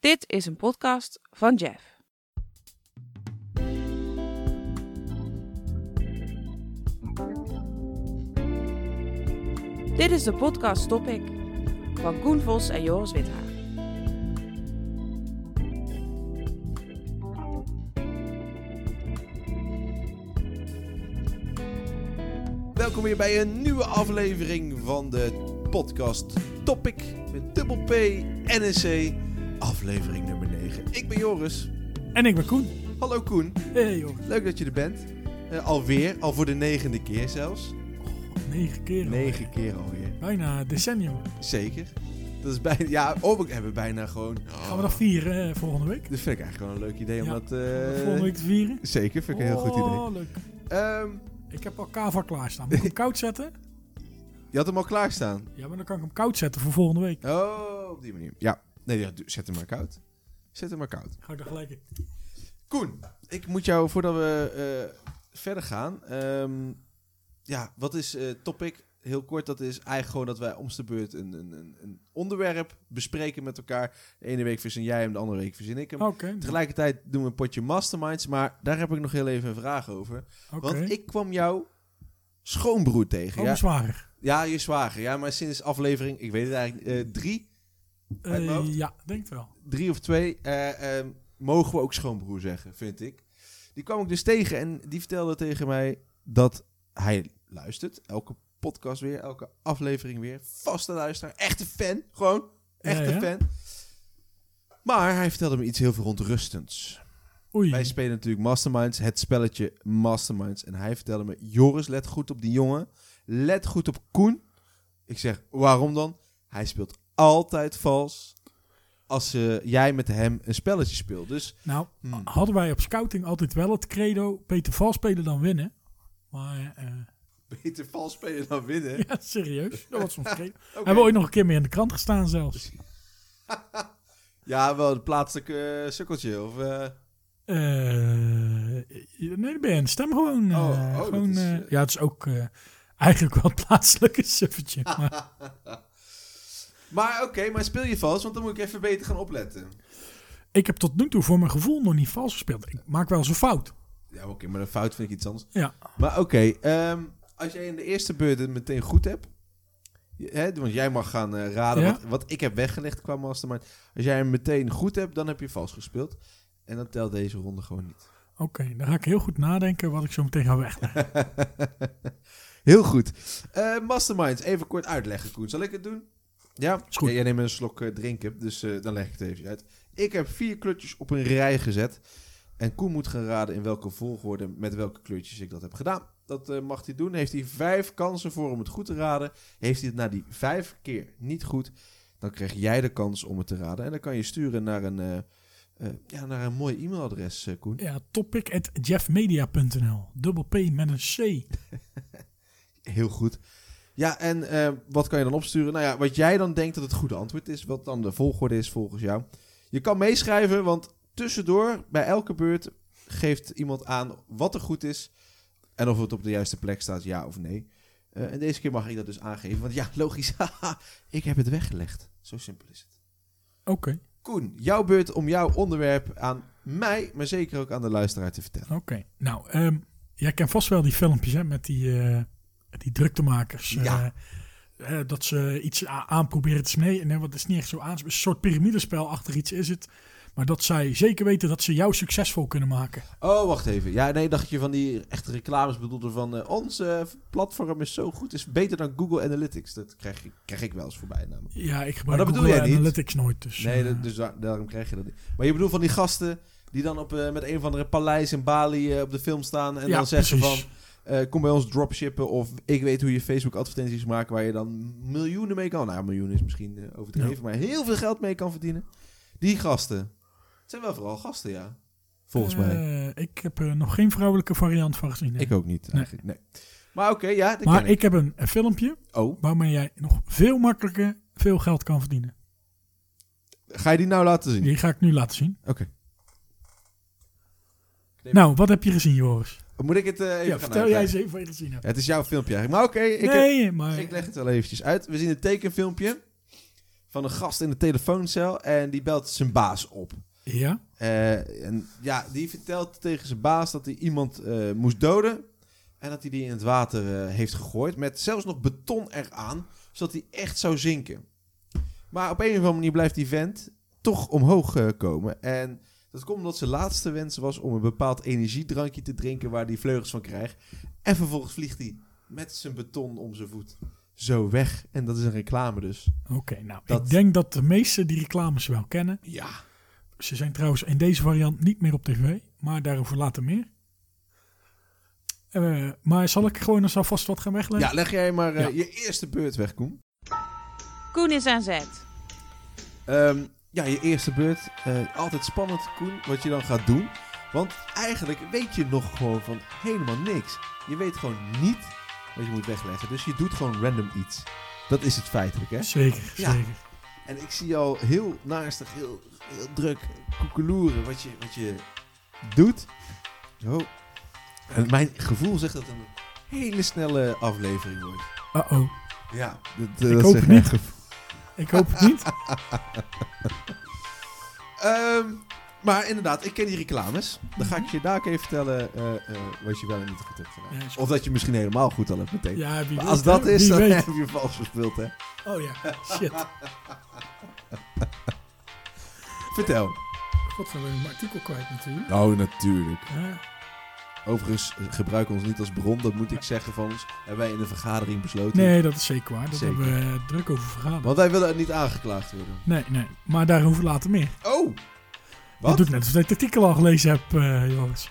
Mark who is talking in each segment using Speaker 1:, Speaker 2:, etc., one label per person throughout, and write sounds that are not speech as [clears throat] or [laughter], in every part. Speaker 1: Dit is een podcast van Jeff. Dit is de podcast Topic van Koen Vos en Joris Withaar.
Speaker 2: Welkom weer bij een nieuwe aflevering van de podcast Topic met dubbel P NSC, aflevering nummer 9. Ik ben Joris.
Speaker 3: En ik ben Koen.
Speaker 2: Hallo Koen,
Speaker 3: Hey jongen.
Speaker 2: leuk dat je er bent. Eh, alweer, al voor de negende keer zelfs.
Speaker 3: Negen keer. al.
Speaker 2: Negen keer alweer.
Speaker 3: Bijna een decennium.
Speaker 2: Zeker. Dat is bijna, ja, oh, we hebben bijna gewoon...
Speaker 3: Gaan we nog vieren hè, volgende week?
Speaker 2: Dat vind ik eigenlijk gewoon een leuk idee,
Speaker 3: Ja,
Speaker 2: omdat... Oh. eh,
Speaker 3: volgende week te vieren?
Speaker 2: Zeker, vind ik een heel goed idee.
Speaker 3: Oh, leuk.
Speaker 2: Ehm,
Speaker 3: Ik heb al kava klaarstaan. Moet ik hem koud zetten?
Speaker 2: je had hem al klaarstaan.
Speaker 3: Ja, maar dan kan ik hem koud zetten voor volgende week.
Speaker 2: Oh, op die manier. Ja, nee, ja, du- zet hem maar koud. Zet hem maar koud.
Speaker 3: Ga ik er gelijk in.
Speaker 2: Koen, ik moet jou, voordat we eh, verder gaan... ehm, ja, wat is eh, topic? Heel kort, dat is eigenlijk gewoon dat wij omste beurt een, een, een- een onderwerp bespreken met elkaar. De ene week verzin jij hem, de andere week verzin ik hem.
Speaker 3: Oké.
Speaker 2: Tegelijkertijd doen we een potje masterminds, maar daar heb ik nog heel even een vraag over.
Speaker 3: Oké.
Speaker 2: Want ik kwam jouw schoonbroer tegen.
Speaker 3: Oh,
Speaker 2: ja,
Speaker 3: mijn zwager.
Speaker 2: ja, je zwager. Ja, maar sinds aflevering, ik weet het eigenlijk, eh, drie,
Speaker 3: Eh,
Speaker 2: Uit mijn hoofd?
Speaker 3: ja, denk het wel.
Speaker 2: drie of twee, eh, eh, mogen we ook schoonbroer zeggen, vind ik. Die kwam ik dus tegen en die vertelde tegen mij dat hij luistert. Elke podcast weer, elke aflevering weer. Vaste luisteraar, echte fan, gewoon. Echte
Speaker 3: Ja, ja.
Speaker 2: fan. Maar hij vertelde me iets heel verontrustends.
Speaker 3: Oei.
Speaker 2: Wij spelen natuurlijk Masterminds, het spelletje Masterminds. En hij vertelde me, Joris, let goed op die jongen. Let goed op Koen. Ik zeg, waarom dan? Hij speelt altijd vals als eh, jij met hem een spelletje speelt. Dus [laughs]
Speaker 3: Nou,
Speaker 2: hmm,
Speaker 3: hadden wij op scouting altijd wel het credo beter vals spelen dan winnen. Maar, eh, [laughs]
Speaker 2: beter vals spelen dan winnen.
Speaker 3: ja, serieus. Dat was ons credo.
Speaker 2: [laughs] Oké.
Speaker 3: Hebben we ooit nog een keer mee in de krant gestaan zelfs.
Speaker 2: Ja, wel het plaatselijke eh, sukkeltje. Of, eh,
Speaker 3: Eh, nee, dat ben je een stem gewoon. eh,
Speaker 2: Oh, oh, dat
Speaker 3: gewoon
Speaker 2: is,
Speaker 3: eh,
Speaker 2: eh,
Speaker 3: ja, het is ook eh, eigenlijk wel het [laughs] plaatselijke
Speaker 2: [laughs]
Speaker 3: suffertje. Maar,
Speaker 2: Maar oké, maar speel je vals, want dan moet ik even beter gaan opletten.
Speaker 3: ik heb tot nu toe voor mijn gevoel nog niet vals gespeeld. Ik maak wel eens een fout.
Speaker 2: Ja, oké, maar een fout vind ik iets anders.
Speaker 3: Ja.
Speaker 2: Maar oké, ehm, als jij in de eerste beurt het meteen goed hebt... je- Hè, want jij mag gaan eh, raden
Speaker 3: Ja.
Speaker 2: wat, wat ik heb weggelegd qua mastermind. Als jij hem meteen goed hebt, dan heb je vals gespeeld. En dat telt deze ronde gewoon niet.
Speaker 3: Oké, dan ga ik heel goed nadenken wat ik zo meteen ga
Speaker 2: [laughs]
Speaker 3: wegleggen.
Speaker 2: Heel goed. Eh masterminds, even kort uitleggen, Koen. Zal ik het doen? Ja?
Speaker 3: Is goed.
Speaker 2: Ja, jij neemt een slok eh, drinken, dus eh, dan leg ik het even uit. Ik heb vier kleurtjes op een rij gezet. En Koen moet gaan raden in welke volgorde met welke kleurtjes ik dat heb gedaan. Dat eh, mag hij doen. Heeft hij vijf kansen voor om het goed te raden. Heeft hij het na die vijf keer niet goed, dan krijg jij de kans om het te raden. En dan kan je sturen naar een, eh, eh, ja, naar een mooi e-mailadres, eh, Koen.
Speaker 3: Ja, topic at jeffmedia.nl. Dubbel P met een C.
Speaker 2: Heel goed. Ja, en eh, wat kan je dan opsturen? Nou ja, wat jij dan denkt dat het goede antwoord is, wat dan de volgorde is volgens jou. Je kan meeschrijven, want tussendoor, bij elke beurt, geeft iemand aan wat er goed is. En of het op de juiste plek staat, ja of nee. Eh, en deze keer mag ik dat dus aangeven, want ja, [laughs] logisch, haha, ik heb het weggelegd. Zo simpel is het.
Speaker 3: Oké,
Speaker 2: Koen, jouw beurt om jouw onderwerp aan mij, maar zeker ook aan de luisteraar te vertellen.
Speaker 3: oké. Nou, ehm, jij kent vast wel die filmpjes hè, met die, eh, die druktemakers. eh,
Speaker 2: Ja.
Speaker 3: eh, dat ze iets a- aan proberen te snijden. Nee, want het is niet echt zo aan. Een soort piramidespel achter iets is het. Maar dat zij zeker weten dat ze jou succesvol kunnen maken.
Speaker 2: Oh, wacht even. Ja, nee, dacht je van die echte reclames bedoelde van... eh, ons eh, platform is zo goed, is beter dan Google Analytics. Dat krijg ik, krijg ik wel eens voorbij namelijk.
Speaker 3: Ja, ik
Speaker 2: Maar
Speaker 3: gebruik
Speaker 2: dat bedoel
Speaker 3: Google
Speaker 2: jij niet?
Speaker 3: Analytics nooit. Dus,
Speaker 2: Nee,
Speaker 3: eh,
Speaker 2: dat- dus daar- daarom krijg je dat niet. Maar je bedoelt van die gasten die dan op, eh, met een of andere paleis in Bali eh, op de film staan... en
Speaker 3: ja,
Speaker 2: dan zeggen
Speaker 3: precies.
Speaker 2: van, eh, kom bij ons dropshippen... of ik weet hoe je Facebook advertenties maakt waar je dan miljoenen mee kan... Nou, miljoenen is misschien eh, overdreven, maar heel veel geld mee kan verdienen. Die gasten. Het zijn wel vooral gasten, ja. Volgens mij.
Speaker 3: Eh, ik heb er nog geen vrouwelijke variant van gezien. nee.
Speaker 2: Ik ook niet,
Speaker 3: Nee.
Speaker 2: eigenlijk. Nee. Maar oké, ja, dat
Speaker 3: maar
Speaker 2: ken ik.
Speaker 3: ik heb een, een filmpje
Speaker 2: Oh,
Speaker 3: waarmee jij nog veel makkelijker veel geld kan verdienen.
Speaker 2: ga je die nou laten zien?
Speaker 3: Die ga ik nu laten zien.
Speaker 2: Oké. Nee.
Speaker 3: Nou, wat heb je gezien, Joris?
Speaker 2: Moet ik het eh, even
Speaker 3: Ja,
Speaker 2: gaan
Speaker 3: vertel
Speaker 2: uitleggen?
Speaker 3: jij eens even wat je gezien hebt.
Speaker 2: Ja, het is jouw filmpje eigenlijk. Maar oké, ik,
Speaker 3: nee, maar
Speaker 2: ik leg het wel eventjes uit. We zien een tekenfilmpje van een gast in de telefooncel en die belt zijn baas op.
Speaker 3: Ja?
Speaker 2: Eh, en ja, die vertelt tegen zijn baas dat hij iemand eh, moest doden. En dat hij die in het water eh, heeft gegooid. Met zelfs nog beton eraan. Zodat hij echt zou zinken. Maar op een of andere manier blijft die vent toch omhoog eh, komen. En dat komt omdat zijn laatste wens was om een bepaald energiedrankje te drinken. Waar hij vleugels van krijgt. En vervolgens vliegt hij met zijn beton om zijn voet zo weg. En dat is een reclame dus.
Speaker 3: Oké, nou,
Speaker 2: Dat-
Speaker 3: ik denk dat de meesten die reclames wel kennen.
Speaker 2: Ja.
Speaker 3: Ze zijn trouwens in deze variant niet meer op tv, maar daarover later meer. Eh, maar zal ik gewoon eens alvast wat gaan wegleggen?
Speaker 2: Ja, leg jij maar eh,
Speaker 3: Ja.
Speaker 2: je eerste beurt weg, Koen.
Speaker 1: Koen is aan zet.
Speaker 2: Ehm, ja, je eerste beurt. Eh, altijd spannend, Koen, wat je dan gaat doen. Want eigenlijk weet je nog gewoon van helemaal niks. Je weet gewoon niet wat je moet wegleggen. Dus je doet gewoon random iets. Dat is het feitelijk, hè?
Speaker 3: Zeker,
Speaker 2: Ja.
Speaker 3: zeker.
Speaker 2: En ik zie al heel naastig, heel, heel druk koekeloeren wat je, wat je doet. Zo. En mijn gevoel zegt dat het een hele snelle aflevering wordt.
Speaker 3: Uh-oh,
Speaker 2: Ja, dat, eh,
Speaker 3: Ik
Speaker 2: dat
Speaker 3: hoop
Speaker 2: zegt
Speaker 3: het
Speaker 2: mijn
Speaker 3: niet.
Speaker 2: gevoel.
Speaker 3: ik hoop het
Speaker 2: [laughs]
Speaker 3: niet.
Speaker 2: Ehm, maar inderdaad, ik ken die reclames. Dan ga ik je daar ook even vertellen eh, eh, wat je wel en niet goed hebt gedaan.
Speaker 3: Mhm. Ja, is goed.
Speaker 2: Of dat je misschien helemaal goed al hebt meteen.
Speaker 3: Ja, wie
Speaker 2: maar
Speaker 3: weet,
Speaker 2: als dat
Speaker 3: hè?
Speaker 2: is,
Speaker 3: Wie
Speaker 2: dan
Speaker 3: weet.
Speaker 2: [laughs] heb je vals verspild, hè.
Speaker 3: Oh ja, shit.
Speaker 2: Vertel.
Speaker 3: God, dan ben ik mijn artikel kwijt natuurlijk.
Speaker 2: Oh, natuurlijk.
Speaker 3: Ja.
Speaker 2: Overigens, eh, gebruik ons niet als bron. Dat moet ik zeggen van ons. Hebben wij in de vergadering besloten.
Speaker 3: Nee, dat is zeker waar. Dat
Speaker 2: Zeker.
Speaker 3: hebben we eh, druk over vergaderd.
Speaker 2: Want wij willen niet aangeklaagd worden.
Speaker 3: Nee, nee. Maar daarover later meer.
Speaker 2: Oh!
Speaker 3: Dat
Speaker 2: Wat?
Speaker 3: doet net alsof ik het artikel al gelezen heb, eh Joris.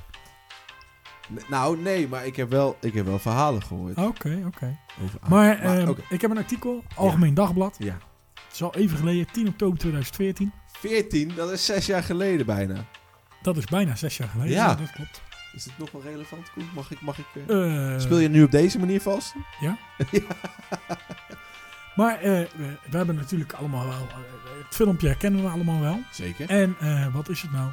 Speaker 2: N- Nou, nee, maar ik heb wel, ik heb wel verhalen gehoord.
Speaker 3: Oké, oké.
Speaker 2: Over aan-
Speaker 3: Oh, Maar, ehm,
Speaker 2: Ah, oké.
Speaker 3: ik heb een artikel, Algemeen Dagblad.
Speaker 2: Ja.
Speaker 3: Het is al even geleden, 10 oktober 2014.
Speaker 2: 14, dat is zes jaar geleden bijna.
Speaker 3: Dat is bijna zes jaar geleden.
Speaker 2: Ja.
Speaker 3: dat klopt.
Speaker 2: Is dit nog wel relevant, Koen? Mag ik... Mag ik eh,
Speaker 3: Eh,
Speaker 2: Speel je nu op deze manier vast?
Speaker 3: Maar eh, we, we hebben natuurlijk allemaal wel... eh, het filmpje herkennen we allemaal wel.
Speaker 2: Zeker.
Speaker 3: En eh, wat is het nou?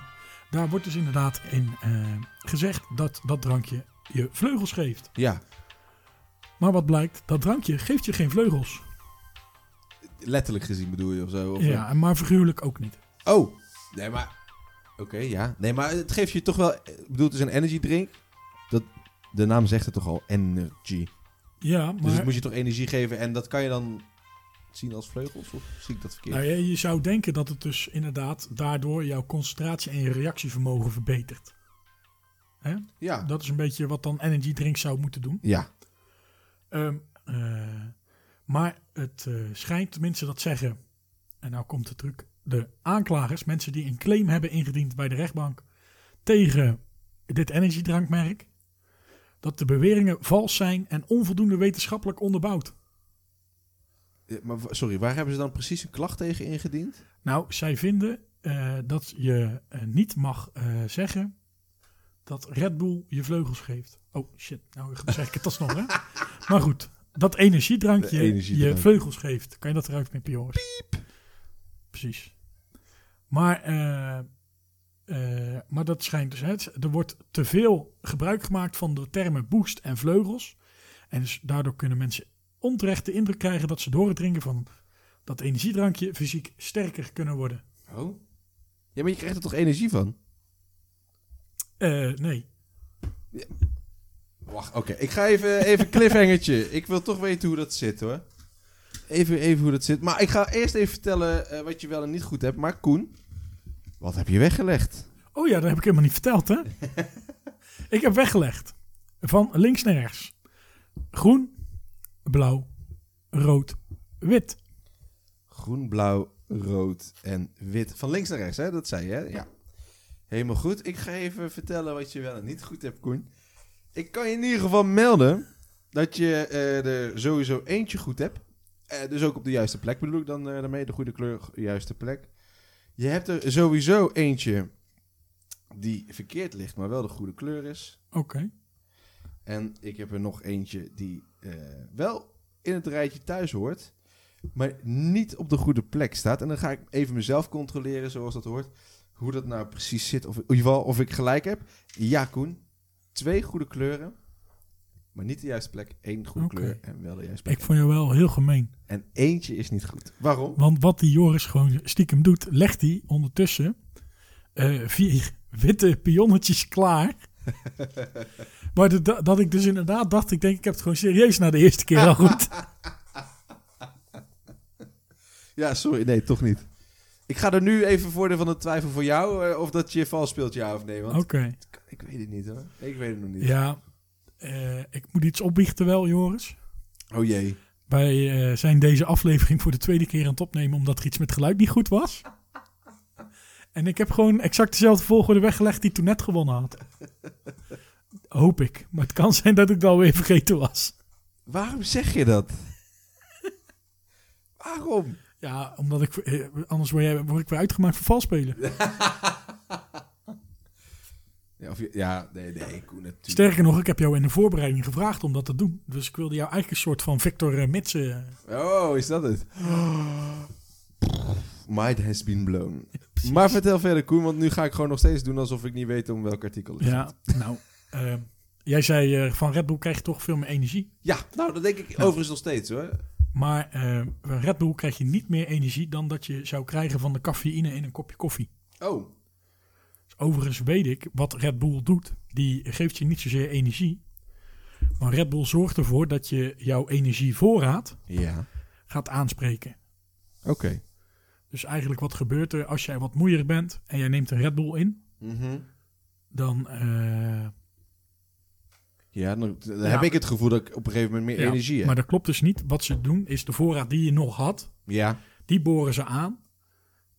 Speaker 3: Daar wordt dus inderdaad in eh, gezegd dat dat drankje je vleugels geeft.
Speaker 2: Ja,
Speaker 3: Maar wat blijkt, dat drankje geeft je geen vleugels.
Speaker 2: letterlijk gezien bedoel je of zo? Of
Speaker 3: Ja, en maar figuurlijk ook niet.
Speaker 2: Oh, nee, maar... Oké, ja. Nee, maar het geeft je toch wel... Ik bedoel, het is een energy drink. Dat, de naam zegt het toch al, energy.
Speaker 3: Ja,
Speaker 2: Dus het
Speaker 3: maar
Speaker 2: moet je toch energie geven en dat kan je dan zien als vleugels? Of zie ik dat verkeerd?
Speaker 3: nou, je, je zou denken dat het dus inderdaad daardoor jouw concentratie en je reactievermogen verbetert.
Speaker 2: Ja.
Speaker 3: Dat is een beetje wat dan energy drink zou moeten doen.
Speaker 2: Ja.
Speaker 3: Ehm, eh, maar het eh, schijnt, mensen dat zeggen, en nou komt de truc, de aanklagers, mensen die een claim hebben ingediend bij de rechtbank tegen dit energiedrankmerk, dat de beweringen vals zijn en onvoldoende wetenschappelijk onderbouwd.
Speaker 2: Eh, Maar wa- sorry, waar hebben ze dan precies een klacht tegen ingediend?
Speaker 3: Nou, zij vinden eh, dat je eh, niet mag eh, zeggen dat Red Bull je vleugels geeft. Oh shit, nou zeg ik het alsnog hè. Maar goed, dat energiedrankje
Speaker 2: De energiedrank.
Speaker 3: je vleugels geeft. Kan je dat eruit knippen, Joris? Precies. Maar, eh, eh, maar dat schijnt dus... hè, het- er wordt te veel gebruik gemaakt van de termen boost en vleugels. En dus daardoor kunnen mensen onterecht de indruk krijgen dat ze door het drinken van dat energiedrankje fysiek sterker kunnen worden.
Speaker 2: Oh. Ja, maar je krijgt er toch energie van?
Speaker 3: Eh, nee.
Speaker 2: Wacht, oké. Ik ga even, even cliffhangertje. Ik wil toch weten hoe dat zit, hoor. Even, even hoe dat zit. Maar ik ga eerst even vertellen eh, wat je wel en niet goed hebt. Maar Koen, wat heb je weggelegd?
Speaker 3: Oh ja, dat heb ik helemaal niet verteld, hè? ik heb weggelegd. Van links naar rechts. Groen, blauw, rood, wit.
Speaker 2: Groen, blauw, rood en wit. Van links naar rechts, hè? Dat zei je, hè? Ja. Helemaal goed. Ik ga even vertellen wat je wel en niet goed hebt, Koen. Ik kan je in ieder geval melden dat je eh, er sowieso eentje goed hebt. Eh, dus ook op de juiste plek bedoel ik dan eh, daarmee. De goede kleur, de juiste plek. Je hebt er sowieso eentje die verkeerd ligt, maar wel de goede kleur is.
Speaker 3: Oké.
Speaker 2: En ik heb er nog eentje die eh, wel in het rijtje thuis hoort, maar niet op de goede plek staat. En dan ga ik even mezelf controleren, zoals dat hoort, hoe dat nou precies zit. Of in ieder geval of ik gelijk heb. Ja, Koen, twee goede kleuren, maar niet de juiste plek. Eén goede
Speaker 3: Oké.
Speaker 2: kleur en wel de juiste plek.
Speaker 3: Ik vond jou wel heel gemeen.
Speaker 2: En eentje is niet goed. Waarom?
Speaker 3: Want wat die Joris gewoon stiekem doet, legt hij ondertussen eh, vier witte pionnetjes klaar. maar de- da- dat ik dus inderdaad dacht, ik denk ik heb het gewoon serieus na de eerste keer al goed.
Speaker 2: Ja, sorry. Nee, toch niet. Ik ga er nu even voordeel van de twijfel voor jou. eh, Of dat je vals speelt, ja of nee. Want
Speaker 3: Oké.
Speaker 2: ik weet het niet hoor. Ik weet het nog niet.
Speaker 3: Ja, eh, ik moet iets opbiechten wel, Joris.
Speaker 2: Oh jee.
Speaker 3: Wij eh, zijn deze aflevering voor de tweede keer aan het opnemen omdat er iets met geluid niet goed was. En ik heb gewoon exact dezelfde volgorde weggelegd die ik toen net gewonnen had. Hoop ik. Maar het kan zijn dat ik dat alweer vergeten was.
Speaker 2: Waarom zeg je dat? [laughs] Waarom?
Speaker 3: Ja, omdat ik eh, anders word, jij, word ik weer uitgemaakt voor valspelen.
Speaker 2: Ja, of je- ja nee, nee, Koen natuurlijk.
Speaker 3: Sterker nog, ik heb jou in de voorbereiding gevraagd om dat te doen. Dus ik wilde jou eigenlijk een soort van Victor eh, Mitsen.
Speaker 2: Oh, is dat het? Might has been blown. Maar vertel verder, Koen, want nu ga ik gewoon nog steeds doen alsof ik niet weet om welk artikel het gaat.
Speaker 3: Ja, [laughs] nou. eh, jij zei eh, van Red Bull krijg je toch veel meer energie.
Speaker 2: Ja, nou, dat denk ik overigens nog steeds hoor.
Speaker 3: Maar eh, bij Red Bull krijg je niet meer energie dan dat je zou krijgen van de cafeïne in een kopje koffie.
Speaker 2: Oh,
Speaker 3: Dus overigens weet ik wat Red Bull doet. Die geeft je niet zozeer energie. Maar Red Bull zorgt ervoor dat je jouw energievoorraad
Speaker 2: ja.
Speaker 3: gaat aanspreken.
Speaker 2: Oké.
Speaker 3: Dus eigenlijk wat gebeurt er als jij wat moeier bent en jij neemt een Red Bull in?
Speaker 2: Mhm.
Speaker 3: Dan, eh,
Speaker 2: Ja, dan, dan
Speaker 3: Ja.
Speaker 2: heb ik het gevoel dat ik op een gegeven moment meer
Speaker 3: ja,
Speaker 2: energie heb.
Speaker 3: Maar dat klopt dus niet. Wat ze doen is de voorraad die je nog had,
Speaker 2: Ja,
Speaker 3: die boren ze aan.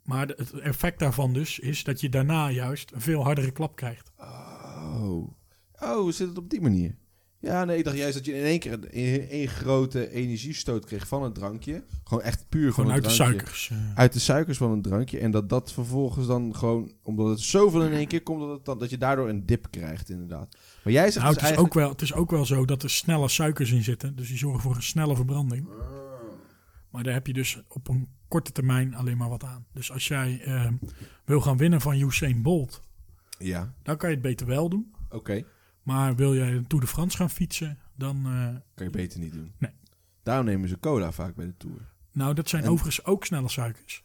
Speaker 3: Maar de- het effect daarvan dus is dat je daarna juist een veel hardere klap krijgt.
Speaker 2: Oh. Oh, zit het op die manier? Ja, nee, ik dacht juist dat je in één keer een- in één grote energiestoot kreeg van een drankje. Gewoon echt puur van
Speaker 3: Gewoon
Speaker 2: een
Speaker 3: uit de
Speaker 2: drankje.
Speaker 3: suikers. eh.
Speaker 2: Uit de suikers van een drankje. En dat dat vervolgens dan gewoon, omdat het zoveel in één keer komt, dat, het dan, dat je daardoor een dip krijgt, inderdaad. Maar jij zegt
Speaker 3: Nou, het
Speaker 2: dus
Speaker 3: is,
Speaker 2: eigenlijk...
Speaker 3: ook wel, het is ook wel zo dat er snelle suikers in zitten. Dus die zorgen voor een snelle verbranding.
Speaker 2: Ah.
Speaker 3: Maar daar heb je dus op een korte termijn alleen maar wat aan. Dus als jij eh, wil gaan winnen van Usain Bolt,
Speaker 2: Ja,
Speaker 3: dan kan je het beter wel doen.
Speaker 2: oké.
Speaker 3: Maar wil jij een Tour de France gaan fietsen, dan... eh,
Speaker 2: Kan je beter niet doen.
Speaker 3: Nee.
Speaker 2: Daarom nemen ze cola vaak bij de Tour.
Speaker 3: nou, dat zijn
Speaker 2: En-
Speaker 3: overigens ook snelle suikers.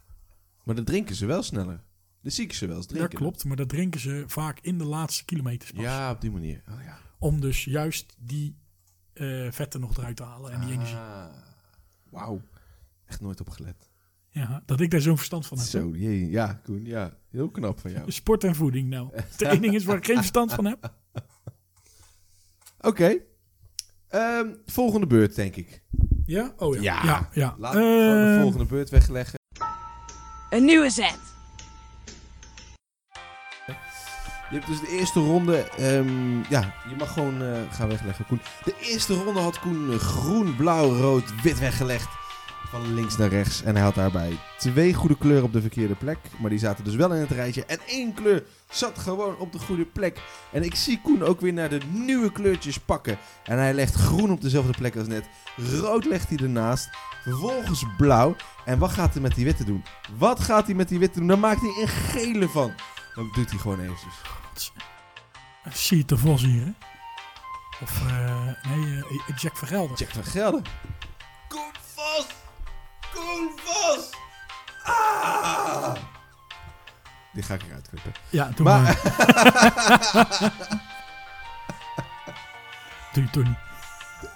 Speaker 2: Maar dan drinken ze wel sneller. Dan zie ik ze wel eens drinken.
Speaker 3: Dat klopt, maar dat drinken ze vaak in de laatste kilometers pas.
Speaker 2: Ja, op die manier. Oh, ja.
Speaker 3: Om dus juist die eh, vetten nog eruit te halen en die energie.
Speaker 2: Ah, Wauw. Echt nooit opgelet.
Speaker 3: Ja, dat ik daar zo'n verstand van heb.
Speaker 2: Zo, jee, ja, Koen, ja. Heel knap van jou.
Speaker 3: Sport en voeding nou.
Speaker 2: [laughs]
Speaker 3: Het enige is waar ik geen verstand van heb.
Speaker 2: Oké. Ehm, volgende beurt, denk ik.
Speaker 3: Ja? Oh ja.
Speaker 2: Ja.
Speaker 3: ja, ja.
Speaker 2: Laten we gewoon de
Speaker 3: Ehm,
Speaker 2: volgende beurt wegleggen.
Speaker 1: Een nieuwe zet.
Speaker 2: Je hebt dus de eerste ronde... ehm, ja, je mag gewoon eh, gaan wegleggen, Koen. De eerste ronde had Koen eh, groen, blauw, rood, wit weggelegd. Van links naar rechts. En hij had daarbij twee goede kleuren op de verkeerde plek. Maar die zaten dus wel in het rijtje. En één kleur zat gewoon op de goede plek. En ik zie Koen ook weer naar de nieuwe kleurtjes pakken. En hij legt groen op dezelfde plek als net. Rood legt hij ernaast. Vervolgens blauw. En wat gaat hij met die witte doen? Wat gaat hij met die witte doen? Daar maakt hij een gele van. Dat doet hij gewoon eventjes.
Speaker 3: Zie je te vos hier, hè? Of, eh, nee, eh, Jack Vergelder.
Speaker 2: Jack van Gelder. Koen vast! Koen vast! Ah! Die ga ik eruit knippen.
Speaker 3: Ja, doe
Speaker 2: Maar-
Speaker 3: maar.
Speaker 2: [laughs]
Speaker 3: doe, doe niet.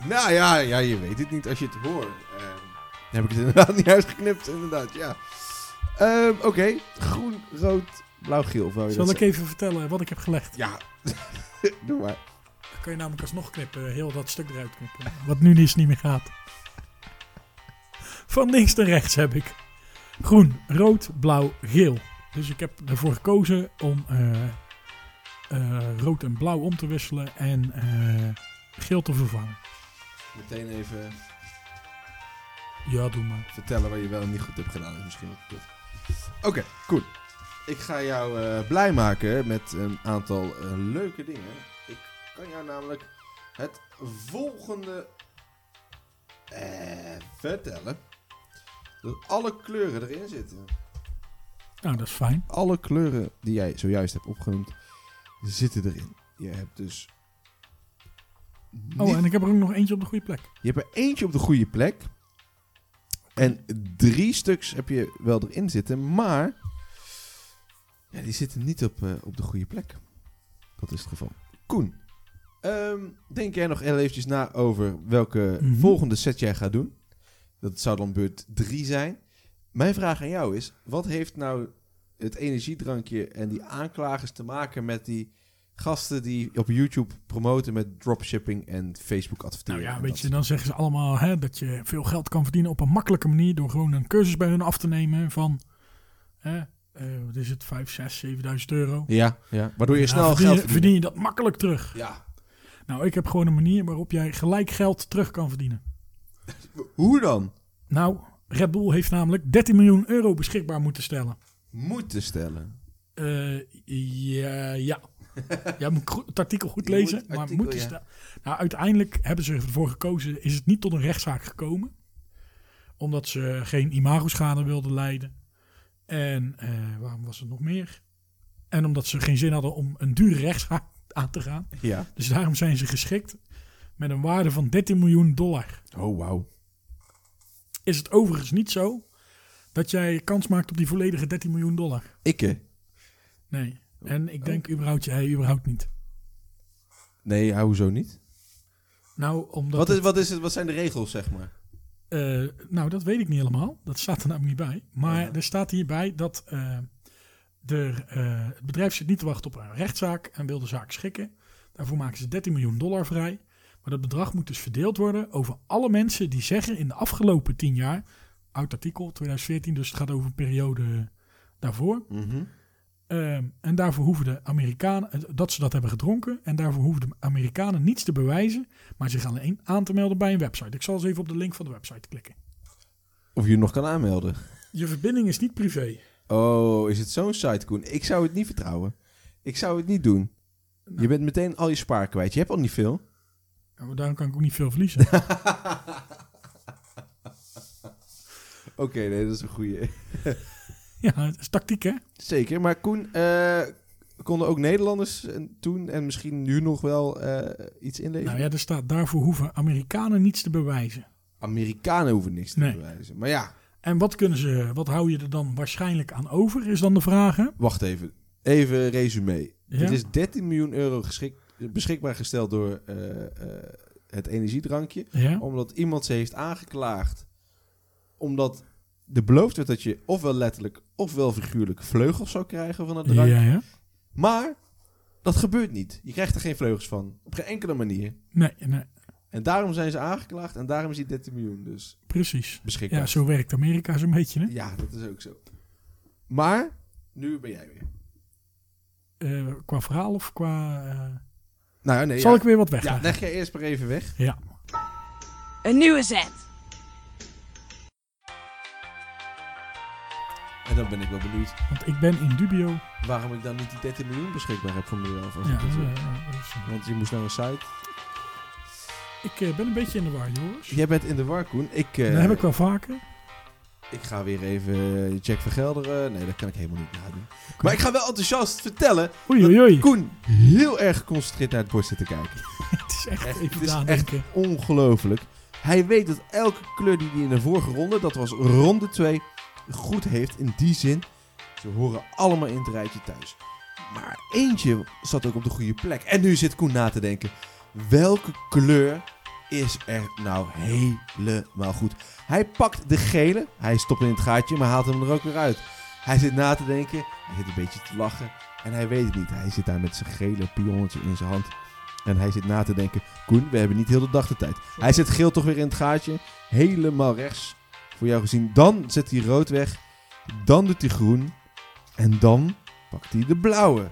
Speaker 2: Nou ja, ja, je weet het niet als je het hoort. Ehm, dan heb ik het inderdaad [laughs] niet uitgeknipt, inderdaad, ja. Ehm, Oké, groen, rood, blauw, geel. of wou je
Speaker 3: Zal
Speaker 2: dat
Speaker 3: ik even vertellen wat ik heb gelegd?
Speaker 2: zeggen? Ja, [laughs] doe maar.
Speaker 3: Dan kun je namelijk alsnog knippen, heel dat stuk eruit knippen. Wat nu dus niet meer gaat. Van links naar rechts heb ik groen, rood, blauw, geel. Dus ik heb ervoor gekozen om eh, eh, rood en blauw om te wisselen en eh, geel te vervangen.
Speaker 2: Meteen even
Speaker 3: Ja, doe maar.
Speaker 2: vertellen waar je wel en niet goed hebt gedaan. Dat is misschien wel kut. Oké, cool. Ik ga jou eh, blij maken met een aantal eh, leuke dingen. Ik kan jou namelijk het volgende eh, vertellen. Dat alle kleuren erin zitten.
Speaker 3: Nou, dat is fijn.
Speaker 2: Alle kleuren die jij zojuist hebt opgenoemd, zitten erin. Je hebt dus
Speaker 3: Oh, en ik heb er ook nog eentje op de goede plek.
Speaker 2: Je hebt er eentje op de goede plek. En drie stuks heb je wel erin zitten, maar ja, die zitten niet op, eh, op de goede plek. Dat is het geval. Koen, ehm, denk jij nog heel eventjes na over welke
Speaker 3: Mhm.
Speaker 2: volgende set jij gaat doen? Dat zou dan beurt drie zijn. Mijn vraag aan jou is, wat heeft nou het energiedrankje en die aanklagers te maken met die gasten die op YouTube promoten met dropshipping en Facebook
Speaker 3: Nou
Speaker 2: adverteren?
Speaker 3: ja,
Speaker 2: en
Speaker 3: weet
Speaker 2: dat
Speaker 3: je, dan zeggen ze allemaal hè, dat je veel geld kan verdienen op een makkelijke manier door gewoon een cursus bij hun af te nemen van, hè, eh, wat is het, 5, 6, 7000 euro.
Speaker 2: Ja, ja. Waardoor je
Speaker 3: Nou,
Speaker 2: snel
Speaker 3: verdien,
Speaker 2: geld
Speaker 3: je, verdien je dat makkelijk terug.
Speaker 2: Ja.
Speaker 3: Nou, ik heb gewoon een manier waarop jij gelijk geld terug kan verdienen.
Speaker 2: Hoe dan?
Speaker 3: Nou, Red Bull heeft namelijk 13 miljoen euro beschikbaar moeten stellen.
Speaker 2: Moeten stellen.
Speaker 3: Eh, ja,
Speaker 2: [laughs]
Speaker 3: ja. Jij moet goed- het artikel goed
Speaker 2: Je moet
Speaker 3: lezen.
Speaker 2: het
Speaker 3: maar
Speaker 2: artikel,
Speaker 3: moeten
Speaker 2: ja.
Speaker 3: sta- nou, uiteindelijk hebben ze ervoor gekozen, is het niet tot een rechtszaak gekomen. Omdat ze geen imagoschade wilden leiden. En eh, waarom was het nog meer? En omdat ze geen zin hadden om een dure rechtszaak aan te gaan.
Speaker 2: Ja.
Speaker 3: Dus daarom zijn ze geschikt met een waarde van 13 miljoen dollar.
Speaker 2: Oh, wauw.
Speaker 3: Is het overigens niet zo dat jij kans maakt op die volledige 13 miljoen dollar?
Speaker 2: Ikke.
Speaker 3: Nee.
Speaker 2: Oh.
Speaker 3: En ik denk überhaupt, jij überhaupt niet.
Speaker 2: Nee, ja, hoezo niet?
Speaker 3: Nou, omdat
Speaker 2: Wat, is, wat, is het, wat zijn de regels, zeg maar?
Speaker 3: Eh, nou, dat weet ik niet helemaal. Dat staat er namelijk niet bij. Maar
Speaker 2: Ja.
Speaker 3: er staat hierbij dat eh, er, eh, het bedrijf zit niet te wachten op een rechtszaak en wil de zaak schikken. Daarvoor maken ze 13 miljoen dollar vrij. Maar dat bedrag moet dus verdeeld worden over alle mensen die zeggen in de afgelopen 10 jaar, oud artikel 2014, dus het gaat over een periode daarvoor.
Speaker 2: Mhm.
Speaker 3: Ehm, en daarvoor hoeven de Amerikanen, eh, dat ze dat hebben gedronken, en daarvoor hoeven de Amerikanen niets te bewijzen, maar zich alleen aan te melden bij een website. Ik zal eens even op de link van de website klikken.
Speaker 2: Of je je nog kan aanmelden.
Speaker 3: Je verbinding is niet privé.
Speaker 2: Oh, is het zo'n site, Koen? Ik zou het niet vertrouwen. Ik zou het niet doen.
Speaker 3: Nou.
Speaker 2: Je bent meteen al je spaar kwijt. Je hebt al niet veel.
Speaker 3: Ja, maar daarom kan ik ook niet veel verliezen.
Speaker 2: Oké, nee, dat is een goede.
Speaker 3: [laughs] ja, het is tactiek, hè?
Speaker 2: Zeker, maar Koen, eh, konden ook Nederlanders eh, toen en misschien nu nog wel eh, iets inleveren?
Speaker 3: Nou ja, er staat daarvoor hoeven Amerikanen niets te bewijzen.
Speaker 2: Amerikanen hoeven niks te
Speaker 3: Nee.
Speaker 2: bewijzen. Maar ja,
Speaker 3: En wat kunnen ze, wat hou je er dan waarschijnlijk aan over, is dan de vraag. hè?
Speaker 2: Wacht even. Even resume.
Speaker 3: Ja.
Speaker 2: Dit is 13 miljoen euro geschik- beschikbaar gesteld door eh, eh, het energiedrankje.
Speaker 3: Ja?
Speaker 2: Omdat iemand ze heeft aangeklaagd. Omdat er beloofd werd dat je ofwel letterlijk ofwel figuurlijk vleugels zou krijgen van het
Speaker 3: Ja,
Speaker 2: drankje.
Speaker 3: ja.
Speaker 2: Maar dat gebeurt niet. Je krijgt er geen vleugels van. Op geen enkele manier.
Speaker 3: Nee, nee,
Speaker 2: En daarom zijn ze aangeklaagd en daarom is die 13 miljoen dus
Speaker 3: precies. Ja,
Speaker 2: beschikbaar.
Speaker 3: zo werkt Amerika zo'n beetje, hè?
Speaker 2: ja dat is ook zo. Maar nu ben jij weer.
Speaker 3: Eh, qua verhaal of qua... eh,
Speaker 2: Nou ja, nee.
Speaker 3: Zal
Speaker 2: ja.
Speaker 3: ik weer wat
Speaker 2: ja,
Speaker 3: wegleggen?
Speaker 2: leg jij eerst maar even weg.
Speaker 3: Ja.
Speaker 1: Een nieuwe zet.
Speaker 2: En dan ben ik wel benieuwd
Speaker 3: want ik ben in dubio.
Speaker 2: waarom ik dan niet die 13 miljoen beschikbaar heb voor mezelf. Als
Speaker 3: Ja,
Speaker 2: ik dat wil.
Speaker 3: eh, eh, dat is-
Speaker 2: Want je moest naar een site.
Speaker 3: ik eh, ben een beetje in de war, jongens.
Speaker 2: Jij bent in de war, Koen. Ik, eh,
Speaker 3: dat heb ik wel vaker.
Speaker 2: ik ga weer even eh, Jack vergelderen. Nee, dat kan ik helemaal niet nadoen. Maar ik ga wel enthousiast vertellen
Speaker 3: Oei, oei, oei.
Speaker 2: dat Koen heel erg geconcentreerd naar het bord zit te kijken.
Speaker 3: [laughs] Het is echt
Speaker 2: Echt,
Speaker 3: even
Speaker 2: het is
Speaker 3: nadenken.
Speaker 2: Ongelooflijk. Hij weet dat elke kleur die hij in de vorige ronde, dat was ronde 2, goed heeft. In die zin, ze horen allemaal in het rijtje thuis. Maar eentje zat ook op de goede plek. En nu zit Koen na te denken. Welke kleur is er nou helemaal goed? Hij pakt de gele. Hij stopt hem in het gaatje, maar haalt hem er ook weer uit. Hij zit na te denken. Hij zit een beetje te lachen. En hij weet het niet. Hij zit daar met zijn gele pionnetje in zijn hand. En hij zit na te denken. Koen, we hebben niet heel de dag de tijd. Hij zet geel toch weer in het gaatje. Helemaal rechts voor jou gezien. Dan zet hij rood weg. Dan doet hij groen. En dan pakt hij de blauwe.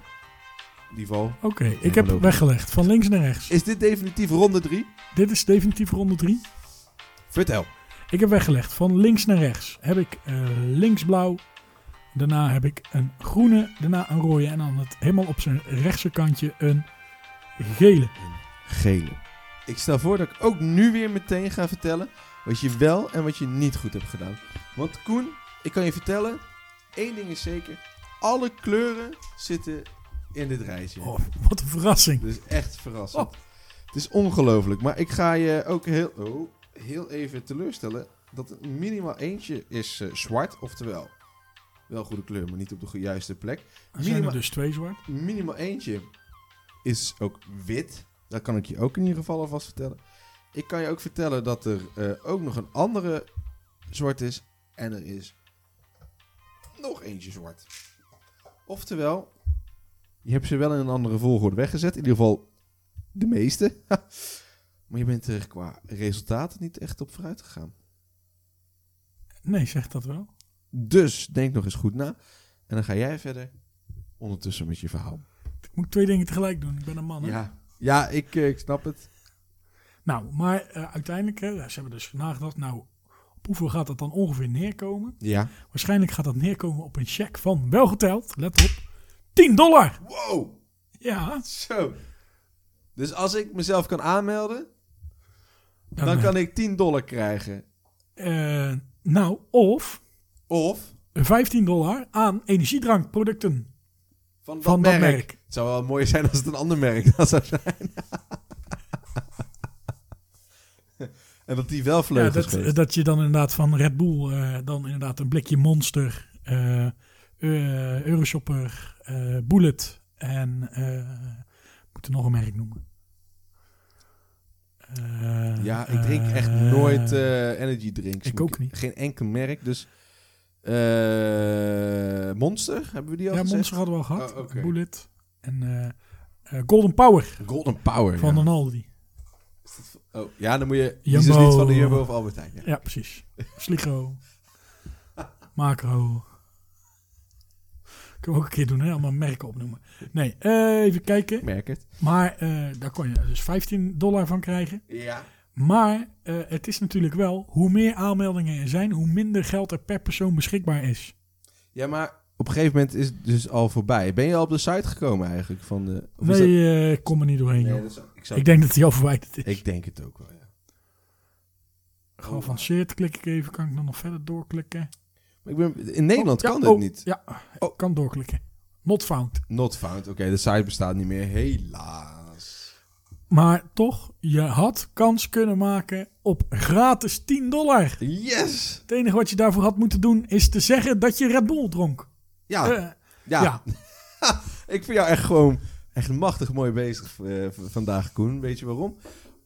Speaker 2: Die val.
Speaker 3: Oké, ik heb het
Speaker 2: logisch.
Speaker 3: weggelegd. Van links naar rechts.
Speaker 2: Is dit definitief ronde 3?
Speaker 3: Dit is definitief ronde 3.
Speaker 2: Vertel.
Speaker 3: Ik heb weggelegd van links naar rechts. Heb ik eh, links blauw. Daarna heb ik een groene. Daarna een rode. En dan het, helemaal op zijn rechtse kantje een gele.
Speaker 2: Gele. Ik stel voor dat ik ook nu weer meteen ga vertellen wat je wel en wat je niet goed hebt gedaan. Want Koen, ik kan je vertellen, één ding is zeker. Alle kleuren zitten in dit rijtje.
Speaker 3: Oh, wat een verrassing.
Speaker 2: Dus echt verrassend.
Speaker 3: Oh.
Speaker 2: Het is ongelooflijk. Maar ik ga je ook heel, oh, heel even teleurstellen dat er minimaal eentje is eh, zwart. Oftewel, wel goede kleur, maar niet op de ge- juiste plek.
Speaker 3: Er zijn
Speaker 2: Minima-
Speaker 3: er dus twee zwart.
Speaker 2: Minimaal eentje is ook wit. Dat kan ik je ook in ieder geval alvast vertellen. Ik kan je ook vertellen dat er eh, ook nog een andere zwart is. En er is nog eentje zwart. Oftewel, je hebt ze wel in een andere volgorde weggezet. In ieder geval de meeste. [laughs] maar je bent er qua resultaten niet echt op vooruit gegaan.
Speaker 3: Nee, zegt dat wel.
Speaker 2: Dus denk nog eens goed na. En dan ga jij verder ondertussen met je verhaal.
Speaker 3: Ik moet twee dingen tegelijk doen. Ik ben een man. Hè?
Speaker 2: Ja, ja ik, eh, ik snap het.
Speaker 3: Nou, maar eh, uiteindelijk, eh, ze hebben dus nagedacht. Nou, op hoeveel gaat dat dan ongeveer neerkomen?
Speaker 2: Ja.
Speaker 3: Waarschijnlijk gaat dat neerkomen op een cheque van, wel geteld, let op, 10 dollar.
Speaker 2: Wow,
Speaker 3: Ja,
Speaker 2: zo. Dus als ik mezelf kan aanmelden,
Speaker 3: dan,
Speaker 2: dan, kan ik 10 dollar krijgen.
Speaker 3: eh, nou, of
Speaker 2: Of
Speaker 3: eh, 15 dollar aan energiedrankproducten
Speaker 2: van dat,
Speaker 3: van
Speaker 2: merk.
Speaker 3: dat merk.
Speaker 2: Het zou wel mooi zijn als het een ander merk dan zou zijn. [laughs] en dat die wel
Speaker 3: Ja,
Speaker 2: vleugels
Speaker 3: dat,
Speaker 2: geeft.
Speaker 3: dat je dan inderdaad van Red Bull eh, dan inderdaad een blikje Monster, eh, eh, Euroshopper, eh, Bullet en eh, ik moet er nog een merk noemen. Eh,
Speaker 2: ja, ik drink echt
Speaker 3: eh,
Speaker 2: nooit eh, energy drinks.
Speaker 3: ik ook niet.
Speaker 2: Geen enkel merk, dus... eh, Monster, hebben we die
Speaker 3: ja,
Speaker 2: al gezegd?
Speaker 3: Monster hadden we al gehad.
Speaker 2: Oh, oké.
Speaker 3: Bullet en eh, eh, Golden Power
Speaker 2: Golden Power.
Speaker 3: van
Speaker 2: ja.
Speaker 3: een Aldi.
Speaker 2: Oh, ja, dan moet je... Die is dus
Speaker 3: Jumbo.
Speaker 2: niet van de Jumbo of Albert Heijn. ja.
Speaker 3: Ja, precies. Sligo, Macro. Kunnen we ook een keer doen, hè? Allemaal merken opnoemen. Nee, eh, even kijken.
Speaker 2: Ik merk het.
Speaker 3: Maar eh, daar kon je dus 15 dollar van krijgen.
Speaker 2: Ja.
Speaker 3: Maar eh, het is natuurlijk wel, hoe meer aanmeldingen er zijn, hoe minder geld er per persoon beschikbaar is.
Speaker 2: Ja, maar op een gegeven moment is het dus al voorbij. Ben je al op de site gekomen eigenlijk? Van de, of is
Speaker 3: Nee, eh, ik kom er niet doorheen.
Speaker 2: dat, nee,
Speaker 3: joh.
Speaker 2: dat zou- ik, zou,
Speaker 3: ik
Speaker 2: ik,
Speaker 3: denk dat die al verwijderd is.
Speaker 2: denk, het ook wel, ja.
Speaker 3: Geavanceerd klik ik even, kan ik dan nog verder doorklikken?
Speaker 2: Maar ik ben, in Nederland
Speaker 3: Oh, ja,
Speaker 2: kan dit
Speaker 3: oh,
Speaker 2: niet.
Speaker 3: Ja,
Speaker 2: Oh.
Speaker 3: kan doorklikken. Not found.
Speaker 2: Not found. Oké, de site bestaat niet meer. Helaas.
Speaker 3: Maar toch, je had kans kunnen maken op gratis 10 dollar.
Speaker 2: Yes!
Speaker 3: Het enige wat je daarvoor had moeten doen, is te zeggen dat je Red Bull dronk.
Speaker 2: Ja,
Speaker 3: Eh,
Speaker 2: Ah, ja. [laughs]
Speaker 3: ja.
Speaker 2: ik vind jou echt gewoon echt machtig mooi bezig eh, v- vandaag, Koen. Weet je waarom?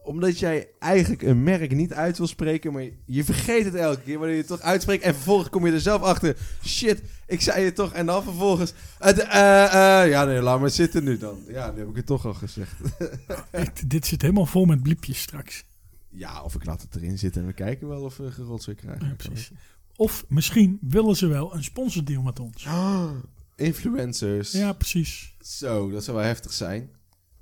Speaker 2: Omdat jij eigenlijk een merk niet uit wil spreken, maar je vergeet het elke keer wanneer je het toch uitspreekt. En vervolgens kom je er zelf achter. Shit, ik zei het toch. En dan vervolgens. het, eh, eh, ja, nee, laat maar zitten nu dan. Ja, nu heb ik het toch al gezegd.
Speaker 3: Echt, dit zit helemaal vol met bliepjes straks.
Speaker 2: Ja, of ik laat het erin zitten en we kijken wel of we gerold weer krijgen.
Speaker 3: Ja, precies. Of misschien willen ze wel een sponsordeal met ons.
Speaker 2: Ah, influencers.
Speaker 3: Ja, precies.
Speaker 2: Zo, dat zou wel heftig zijn.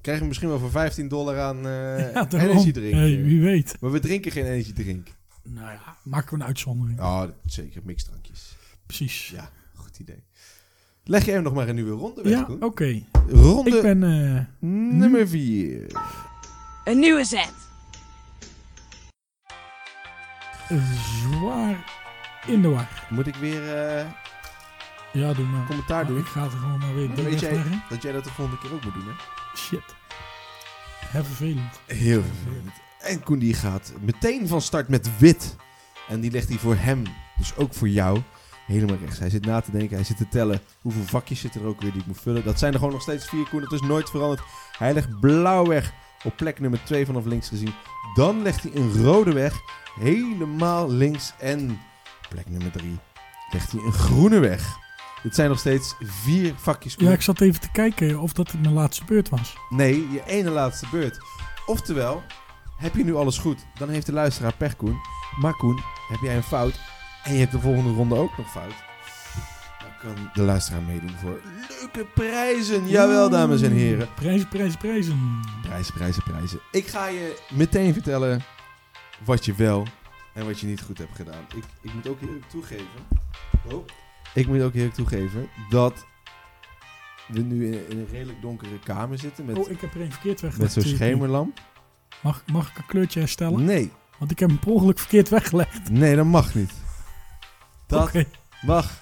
Speaker 2: Krijgen we misschien wel voor 15 dollar aan eh
Speaker 3: [laughs] Ja, daarom.
Speaker 2: energy drink. eh.
Speaker 3: Hey, wie weet.
Speaker 2: Maar we drinken geen energy drink.
Speaker 3: Nou ja, maken we een uitzondering.
Speaker 2: Ja, dat- zeker. Mixdrankjes.
Speaker 3: Precies.
Speaker 2: Ja, goed idee. Leg jij hem nog maar een nieuwe ronde weg,
Speaker 3: Ja,
Speaker 2: Koen.
Speaker 3: oké.
Speaker 2: Ronde
Speaker 3: Ik ben... eh,
Speaker 2: nummer 4.
Speaker 1: Een nieuwe zet.
Speaker 3: zwaar in de war.
Speaker 2: Moet ik weer eh,
Speaker 3: Ja, doe maar.
Speaker 2: commentaar
Speaker 3: Maar
Speaker 2: doen?
Speaker 3: Ik ga het er gewoon maar weer
Speaker 2: Dan
Speaker 3: door
Speaker 2: weet jij-
Speaker 3: wegleggen.
Speaker 2: Dat jij dat de volgende keer ook moet doen, hè?
Speaker 3: Shit. Hè, vervelend.
Speaker 2: Heel vervelend. En Koen die gaat meteen van start met wit. En die legt hij voor hem, dus ook voor jou, helemaal rechts. Hij zit na te denken, hij zit te tellen hoeveel vakjes zitten er ook weer die ik moet vullen. Dat zijn er gewoon nog steeds vier, Koen. Dat is nooit veranderd. Hij legt blauw weg op plek nummer 2 vanaf links gezien. Dan legt hij een rode weg helemaal links. En plek nummer 3 legt hij een groene weg. Dit zijn nog steeds vier vakjes, Koen.
Speaker 3: Ja, ik zat even te kijken of dat mijn laatste beurt was.
Speaker 2: Nee, je ene laatste beurt. Oftewel, heb je nu alles goed? Dan heeft de luisteraar pech, Koen. Maar Koen, heb jij een fout? En je hebt de volgende ronde ook nog fout? Dan kan de luisteraar meedoen voor leuke prijzen. Jawel, dames en heren.
Speaker 3: Prijzen, prijzen, prijzen.
Speaker 2: Prijzen, prijzen, prijzen. Ik ga je meteen vertellen wat je wel en wat je niet goed hebt gedaan. Ik, ik moet ook eerlijk toegeven. Oh. Ik moet ook eerlijk toegeven dat we nu in, in een redelijk donkere kamer zitten met,
Speaker 3: Oh, ik heb er een
Speaker 2: met
Speaker 3: verkeerd weggelegd.
Speaker 2: zo'n schemerlamp.
Speaker 3: Mag, mag ik een kleurtje herstellen?
Speaker 2: Nee,
Speaker 3: Want ik heb hem per ongeluk verkeerd weggelegd.
Speaker 2: nee, dat mag niet. Dat
Speaker 3: Oké. [laughs]
Speaker 2: mag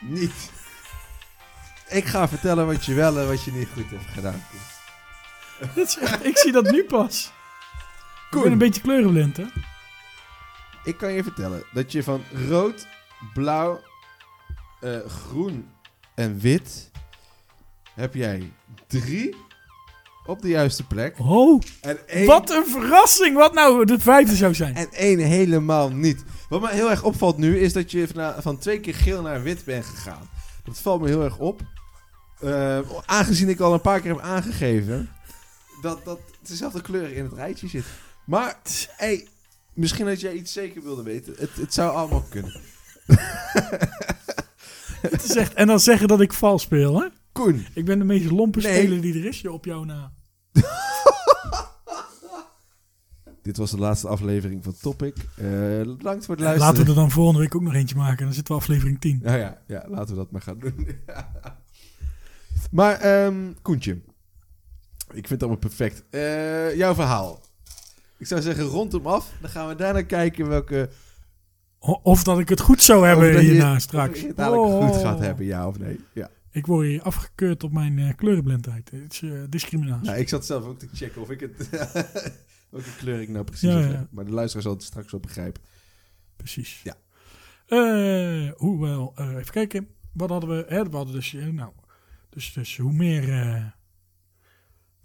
Speaker 2: niet. Ik ga vertellen wat je wel en wat je niet goed hebt gedaan. Koen.
Speaker 3: Dat is echt, ik zie dat nu pas. Ik ben een
Speaker 2: Koen,
Speaker 3: beetje kleurenblind, hè?
Speaker 2: ik kan je vertellen dat je van rood, blauw, eh, groen en wit... heb jij drie op de juiste plek.
Speaker 3: Oh,
Speaker 2: En één,
Speaker 3: wat een verrassing. Wat nou de vijfde zou zijn.
Speaker 2: en één helemaal niet. Wat me heel erg opvalt nu is dat je van, van twee keer geel naar wit bent gegaan. Dat valt me heel erg op. Eh, aangezien ik al een paar keer heb aangegeven dat, dat dezelfde kleur in het rijtje zit. Maar, hey, misschien dat jij iets zeker wilde weten. Het, het zou allemaal kunnen.
Speaker 3: Het is echt, en dan zeggen dat ik vals speel, hè?
Speaker 2: Koen,
Speaker 3: Ik ben de meest lompe
Speaker 2: Nee.
Speaker 3: speler die er is joh, op jou na.
Speaker 2: dit was de laatste aflevering van Topic. Eh, bedankt voor het luisteren.
Speaker 3: Laten we er dan volgende week ook nog eentje maken. Dan zitten we aflevering 10.
Speaker 2: Nou ja, ja, laten we dat maar gaan doen. [laughs] maar, ehm, Koentje. Ik vind het allemaal perfect. Eh, jouw verhaal. Ik zou zeggen, rond hem af. Dan gaan we daarna kijken welke...
Speaker 3: O- Of dat ik het goed zou
Speaker 2: of
Speaker 3: hebben
Speaker 2: dat je-
Speaker 3: hierna
Speaker 2: of
Speaker 3: straks.
Speaker 2: je het dadelijk
Speaker 3: Oh.
Speaker 2: goed gaat hebben, ja of nee. Ja.
Speaker 3: Ik word hier afgekeurd op mijn eh, kleurenblindheid. Het is eh, discriminatie.
Speaker 2: Nou, ik zat zelf ook te checken of ik het... [laughs] welke kleur ik nou precies
Speaker 3: Ja,
Speaker 2: heb.
Speaker 3: ja.
Speaker 2: Maar de luisteraar zal het straks wel begrijpen.
Speaker 3: Precies.
Speaker 2: Ja.
Speaker 3: Eh, hoewel, eh, even kijken. Wat hadden we? Hè, we hadden dus, eh, nou, dus, dus hoe, meer, eh,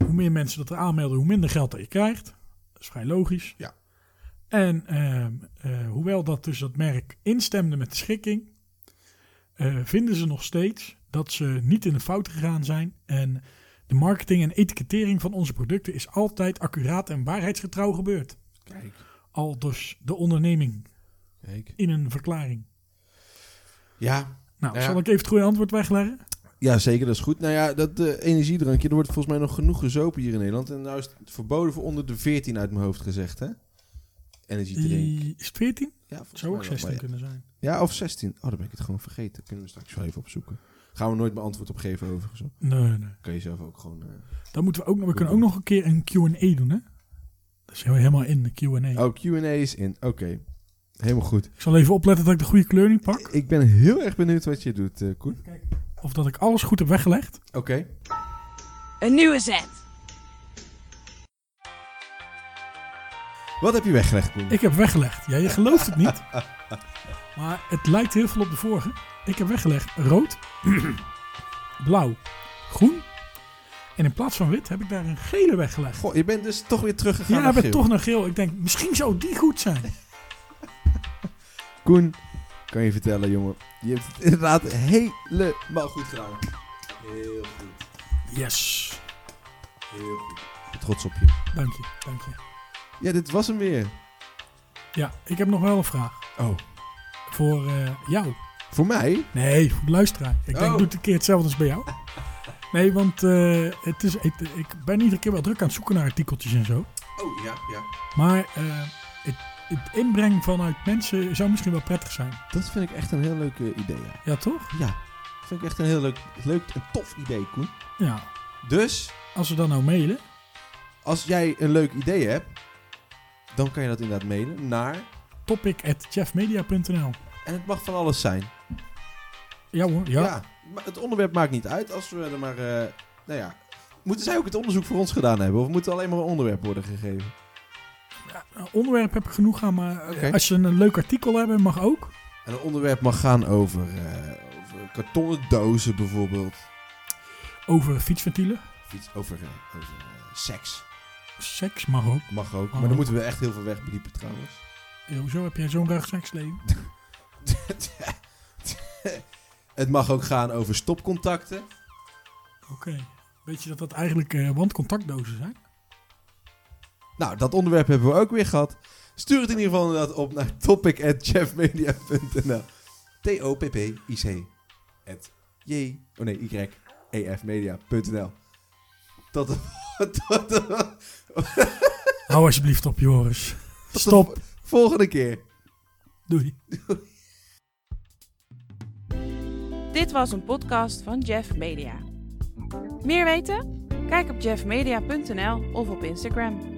Speaker 3: hoe meer mensen dat er aanmelden, hoe minder geld dat je krijgt. Dat is vrij logisch.
Speaker 2: Ja.
Speaker 3: En ehm, eh, hoewel dat dus dat merk instemde met de schikking, eh, vinden ze nog steeds dat ze niet in de fout gegaan zijn. En de marketing en etikettering van onze producten is altijd accuraat en waarheidsgetrouw gebeurd.
Speaker 2: Kijk,
Speaker 3: Al dus de onderneming
Speaker 2: kijk.
Speaker 3: in een verklaring.
Speaker 2: Ja,
Speaker 3: Nou,
Speaker 2: Ja.
Speaker 3: zal ik even het goede antwoord wegleggen?
Speaker 2: ja, zeker, dat is goed. Nou ja, dat eh, energiedrankje, er wordt volgens mij nog genoeg gezopen hier in Nederland. En nou is het verboden voor onder de 14 uit mijn hoofd gezegd, hè? Energiedrink.
Speaker 3: Die is het 14?
Speaker 2: Ja,
Speaker 3: Het zou ook 16 kunnen zijn.
Speaker 2: Ja, of 16. Oh, dan ben ik het gewoon vergeten. Kunnen we straks wel even opzoeken. Gaan we nooit mijn antwoord op geven overigens. hoor.
Speaker 3: Nee, nee.
Speaker 2: Kan je zelf ook gewoon... eh,
Speaker 3: Dan moeten we ook nog, we kunnen ook nog een keer een Q&A doen, hè? Dat is heel- helemaal in, de Q&A.
Speaker 2: Oh, Q&A is in. Oké. Helemaal goed.
Speaker 3: Ik zal even opletten dat ik de goede kleur nu pak.
Speaker 2: Ik ben heel erg benieuwd wat je doet, eh, Koen.
Speaker 3: Of dat ik alles goed heb weggelegd.
Speaker 2: Oké.
Speaker 1: Een nieuwe zet.
Speaker 2: Wat heb je weggelegd, Koen?
Speaker 3: Ik heb weggelegd. Ja, je gelooft het
Speaker 2: [laughs]
Speaker 3: niet. Maar het lijkt heel veel op de vorige. Ik heb weggelegd rood, [clears throat] blauw, groen. En in plaats van wit heb ik daar een gele weggelegd.
Speaker 2: Goh, je bent dus toch weer teruggegaan
Speaker 3: Ja,
Speaker 2: naar
Speaker 3: ik ben
Speaker 2: geel.
Speaker 3: toch naar geel. Ik denk, misschien zou die goed zijn.
Speaker 2: Koen, kan je vertellen, jongen. Je hebt het inderdaad helemaal goed gedaan. Heel goed.
Speaker 3: Yes.
Speaker 2: Heel goed. Trots op je.
Speaker 3: Dank je, dank je.
Speaker 2: Ja, dit was hem weer.
Speaker 3: Ja, ik heb nog wel een vraag.
Speaker 2: Oh.
Speaker 3: Voor eh, jou.
Speaker 2: Voor mij?
Speaker 3: Nee, voor de luisteraar. Ik denk,
Speaker 2: Oh.
Speaker 3: doe het een keer hetzelfde als bij jou. Nee, want eh, het is, ik, ik ben iedere keer wel druk aan het zoeken naar artikeltjes en zo.
Speaker 2: Oh, ja, ja.
Speaker 3: Maar eh, het, het inbrengen vanuit mensen zou misschien wel prettig zijn.
Speaker 2: Dat vind ik echt een heel leuk eh, idee, ja.
Speaker 3: Ja, toch?
Speaker 2: Ja, vind ik echt een heel leuk, leuk en tof idee, Koen.
Speaker 3: Ja.
Speaker 2: Dus,
Speaker 3: Als ze dan nou mailen.
Speaker 2: als jij een leuk idee hebt, dan kan je dat inderdaad mailen naar...
Speaker 3: Topic at jeffmedia.nl
Speaker 2: En het mag van alles zijn.
Speaker 3: Ja hoor, ja.
Speaker 2: maar het onderwerp maakt niet uit als we er maar... eh, nou ja, moeten zij ook het onderzoek voor ons gedaan hebben? Of moet er alleen maar een onderwerp worden gegeven?
Speaker 3: Eh, Onderwerp heb ik genoeg aan, maar eh,
Speaker 2: Oké.
Speaker 3: als ze een leuk artikel hebben, mag ook.
Speaker 2: En een onderwerp mag gaan over, eh, over kartonnen dozen bijvoorbeeld.
Speaker 3: Over fietsventielen.
Speaker 2: Of iets over, eh, over eh, seks.
Speaker 3: Seks mag ook.
Speaker 2: Mag ook.
Speaker 3: Oh.
Speaker 2: Maar dan moeten we echt heel veel wegbediepen trouwens.
Speaker 3: Eh, Hoezo heb jij zo'n ruig seksleven?
Speaker 2: het mag ook gaan over stopcontacten.
Speaker 3: Oké. Weet je dat dat eigenlijk eh, wandcontactdozen zijn?
Speaker 2: Nou, dat onderwerp hebben we ook weer gehad. Stuur het in ieder geval inderdaad op naar topic.jeffmedia.nl T-O-P-P-I-C at J... Oh nee, E Y-E-F-media.nl Tot de, [laughs] tot de-
Speaker 3: Hou alsjeblieft op, Joris. Stop.
Speaker 2: volgende keer.
Speaker 3: Doei.
Speaker 1: Dit was een podcast van Jeff Media. Meer weten? Kijk op jeffmedia.nl of op Instagram.